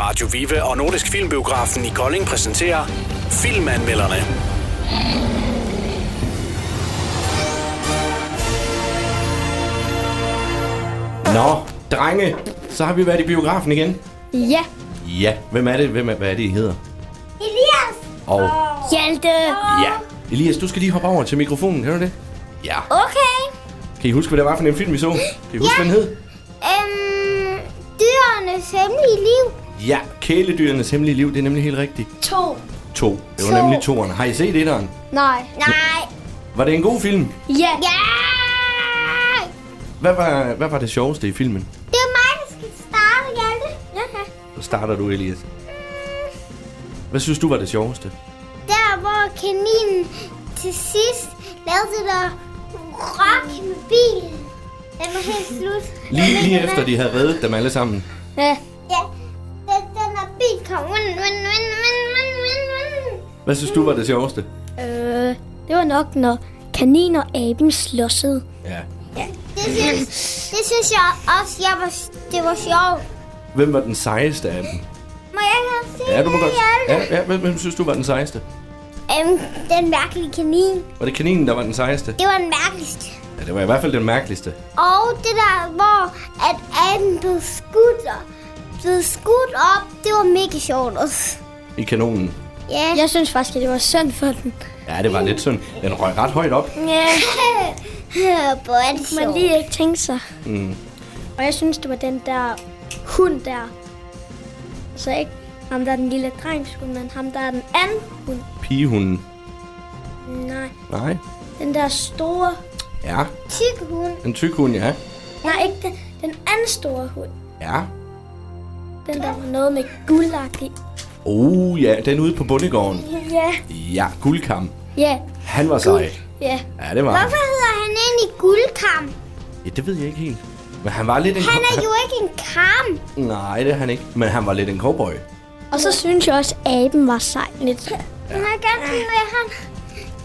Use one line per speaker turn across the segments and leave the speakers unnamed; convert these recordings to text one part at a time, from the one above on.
Radio Vive og Nordisk Filmbiografen i Kolding præsenterer Filmanmelderne.
Nå, drenge, så har vi været i biografen igen.
Ja,
Ja, hvem er det? Hvem er, hvad er det, I hedder?
Elias!
Og
Hjalte.
ja, Elias, du skal lige hoppe over til mikrofonen, hører du det? Ja.
Okay.
Kan I huske, hvad det var for en film, vi så? Kan I huske, hvad den hed?
Øhm, dyrenes hemmelige liv.
Ja, Kæledyrenes Hemmelige Liv, det er nemlig helt rigtigt.
To.
To. Det var
To.
nemlig toeren. Har I set etteren?
Nej.
Nej.
Var det en god film?
Ja.
Ja!
Hvad var, hvad var det sjoveste i filmen?
Det er mig, der skal starte, Hjalte. Ja.
Så starter du, Elias. Hvad synes du var det sjoveste?
Der, hvor kaninen til sidst lavede det der rock med bilen. Den var helt slut.
Lige, lige efter de havde reddet dem alle sammen.
Ja.
Ja, den, den der bil kom. Vin, vin, vin, vin, vin, vin, vin.
Hvad synes du var det sjoveste?
Øh, det var nok, når kanin og aben slåsede.
Ja.
Det synes, det synes jeg også, jeg var, det var sjovt.
Hvem var den sejeste af dem?
Må jeg godt se
Ja, du må
det,
godt.
Hjalte?
Ja, ja, hvem, hvem synes du var den sejeste?
Øhm, den mærkelige kanin.
Var det kaninen, der var den sejeste?
Det var den mærkeligste.
Ja, det var i hvert fald den mærkeligste.
Og det der, hvor at aben blev skudt, og blev skudt op, det var mega sjovt også.
I kanonen.
Ja.
Jeg synes faktisk, at det var synd for den.
Ja, det var lidt sådan. Den røg ret højt op.
Ja.
Hvor er det
Man
sjovt.
lige ikke tænkte sig.
Mm.
Og jeg synes, det var den der hund der. Så ikke ham, der er den lille drengshund, men ham, der er den anden hund.
Pigehunden.
Nej,
Nej.
den der store...
Ja.
Tyk hund.
En tyk hund, ja.
Nej, ikke den, den anden store hund.
Ja.
Den der var noget med guldagtig.
Oh ja, den ude på bondegården.
Ja.
Ja, guldkam.
Ja.
Han var sej.
Ja.
Ja, det var han.
Hvorfor hedder han egentlig guldkam?
Ja, det ved jeg ikke helt. Men han var lidt en...
Han er jo ikke en kam.
Nej, det er han ikke. Men han var lidt en cowboy.
Og så synes jeg også, at aben var sej lidt.
Han har gerne med ham.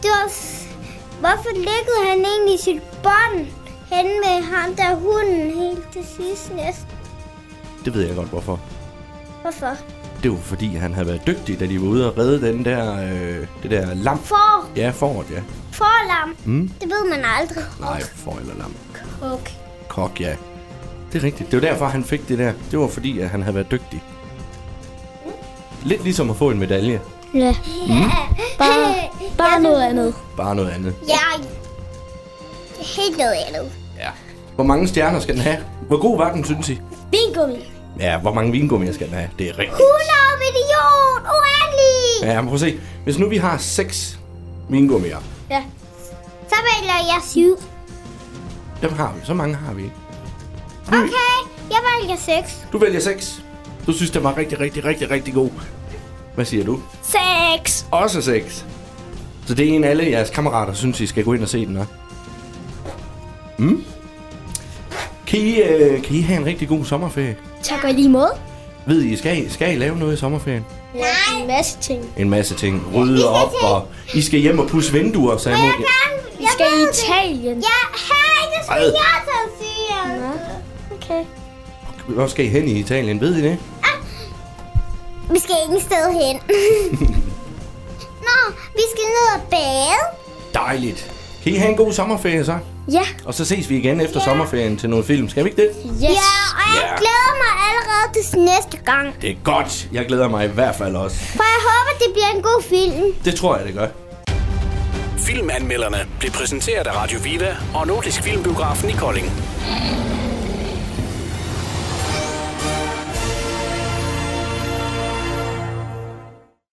Det var... s- Hvorfor læggede han egentlig sit bånd hen med ham der hunden helt til sidst næsten?
Det ved jeg godt, hvorfor.
Hvorfor?
Det var fordi, han havde været dygtig, da de var ude og redde den der... Øh, det der lam.
For,
Ja, foråret, ja.
forlam.
Mm.
Det ved man aldrig.
Nej, for eller lam.
Okay.
Kok, ja. Det er rigtigt. Det var derfor, han fik det der. Det var fordi, at han havde været dygtig. Lidt ligesom at få en medalje.
Ja. Mm. Bare, bare noget andet.
Bare noget andet.
Jeg... Det er helt noget andet.
Ja. Hvor mange stjerner skal den have? Hvor god var den, synes I?
Vingummi.
Ja, hvor mange vingummier skal den have? Det er rigtigt.
100 million! Uendelig!
Ja, men prøv at se. Hvis nu vi har seks vingummier,
Ja.
Så vælger jeg 7.
dem har vi. Så mange har vi ikke. Mm.
Okay, jeg vælger 6.
Du vælger seks. Du synes, den var rigtig, rigtig, rigtig, rigtig god. Hvad siger du?
Sex.
Også seks. Så det er en af alle jeres kammerater, synes I skal gå ind og se den, hva'? Mm? Kan I, øh, kan I have en rigtig god sommerferie?
Tak og i lige måde.
Ved I, skal I, skal I lave noget i sommerferien?
Ja, en masse ting.
En masse ting. Rydde
skal
op,
til-
og I skal hjem og pusse vinduer, så jeg må...
Jeg kan...
Vi
Jeg
skal i
ved det.
Italien.
Ja, hej, det skal
Ej.
jeg så sige.
Nå, Okay.
Hvor skal I hen i Italien? Ved I det?
Vi skal ingen sted hen. Nå, vi skal ned og bade.
Dejligt. Kan I have en god sommerferie så?
Ja.
Og så ses vi igen efter sommerferien til noget film. Skal vi ikke det?
Yes.
Ja, og jeg
Ja.
glæder mig allerede til næste gang.
Det er godt. Jeg glæder mig i hvert fald også.
For jeg håber, det bliver en god film.
Det tror jeg, det gør.
Filmanmelderne blev præsenteret af Radio Vive og Nordisk Filmbiografen i Kolding.